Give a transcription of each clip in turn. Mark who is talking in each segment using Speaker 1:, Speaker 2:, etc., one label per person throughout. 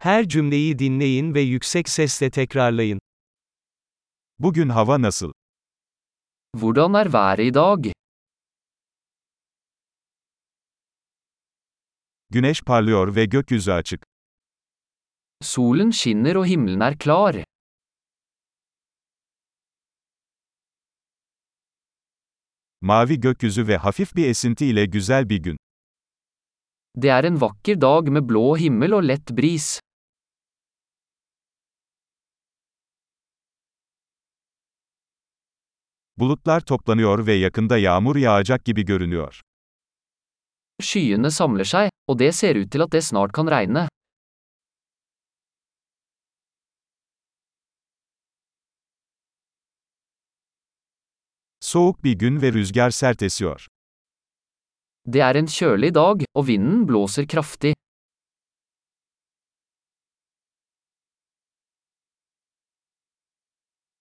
Speaker 1: Her cümleyi dinleyin ve yüksek sesle tekrarlayın.
Speaker 2: Bugün hava nasıl?
Speaker 3: Hvordan er været i dag?
Speaker 2: Güneş parlıyor ve gökyüzü açık.
Speaker 3: Solen skinner og himmelen er klar.
Speaker 2: Mavi gökyüzü ve hafif bir esinti ile güzel bir gün.
Speaker 3: Det er en vakker dag med blå himmel og lett bris.
Speaker 2: Bulutlar toplanıyor ve yakında yağmur yağacak gibi görünüyor.
Speaker 3: Skyene samler seg, og det ser ut til at det snart kan regne.
Speaker 2: Soğuk bir gün ve rüzgar sert esiyor.
Speaker 3: Det er en kjølig dag, og vinden blåser kraftig.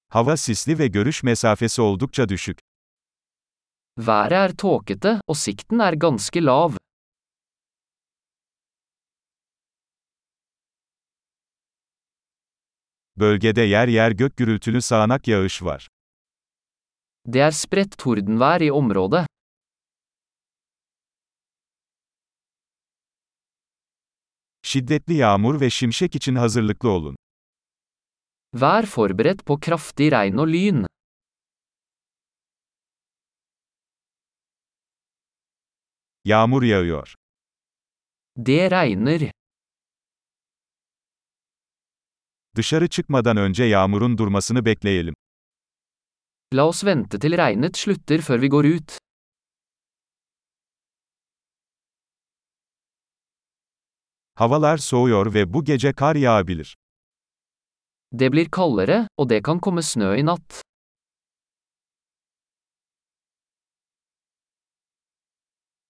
Speaker 2: Hava sisli ve görüş mesafesi oldukça düşük.
Speaker 3: Været er tåkete, og sikten er ganske lav.
Speaker 2: Bölgede yer yer gök gürültülü sağanak yağış var.
Speaker 3: Det er spredt tordenvær i området.
Speaker 2: Şiddetli yağmur ve şimşek için hazırlıklı olun.
Speaker 3: Vær forberedt på kraftig regn og lyn.
Speaker 2: Yağmur yağıyor.
Speaker 3: Det regner.
Speaker 2: Dışarı çıkmadan önce yağmurun durmasını bekleyelim.
Speaker 3: La oss vente til regnet slutter før vi går ut.
Speaker 2: Havalar soğuyor ve bu gece kar yağabilir.
Speaker 3: Det blir kaldere, og det kan komme snø i natt.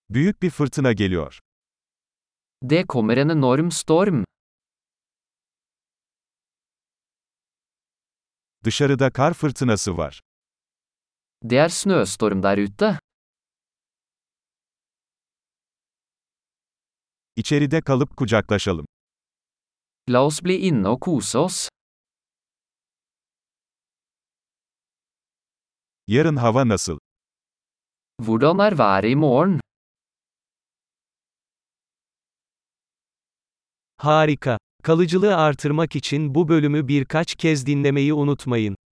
Speaker 2: Büyük bir fırtına geliyor.
Speaker 3: Det kommer en enorm storm.
Speaker 2: Dışarıda kar fırtınası var.
Speaker 3: Det er snøstorm der ute.
Speaker 2: İçeride kalıp kucaklaşalım.
Speaker 3: La oss bli inne og kose oss.
Speaker 2: Yarın hava nasıl?
Speaker 3: Hvordan er været i morgen?
Speaker 1: Harika. Kalıcılığı artırmak için bu bölümü birkaç kez dinlemeyi unutmayın.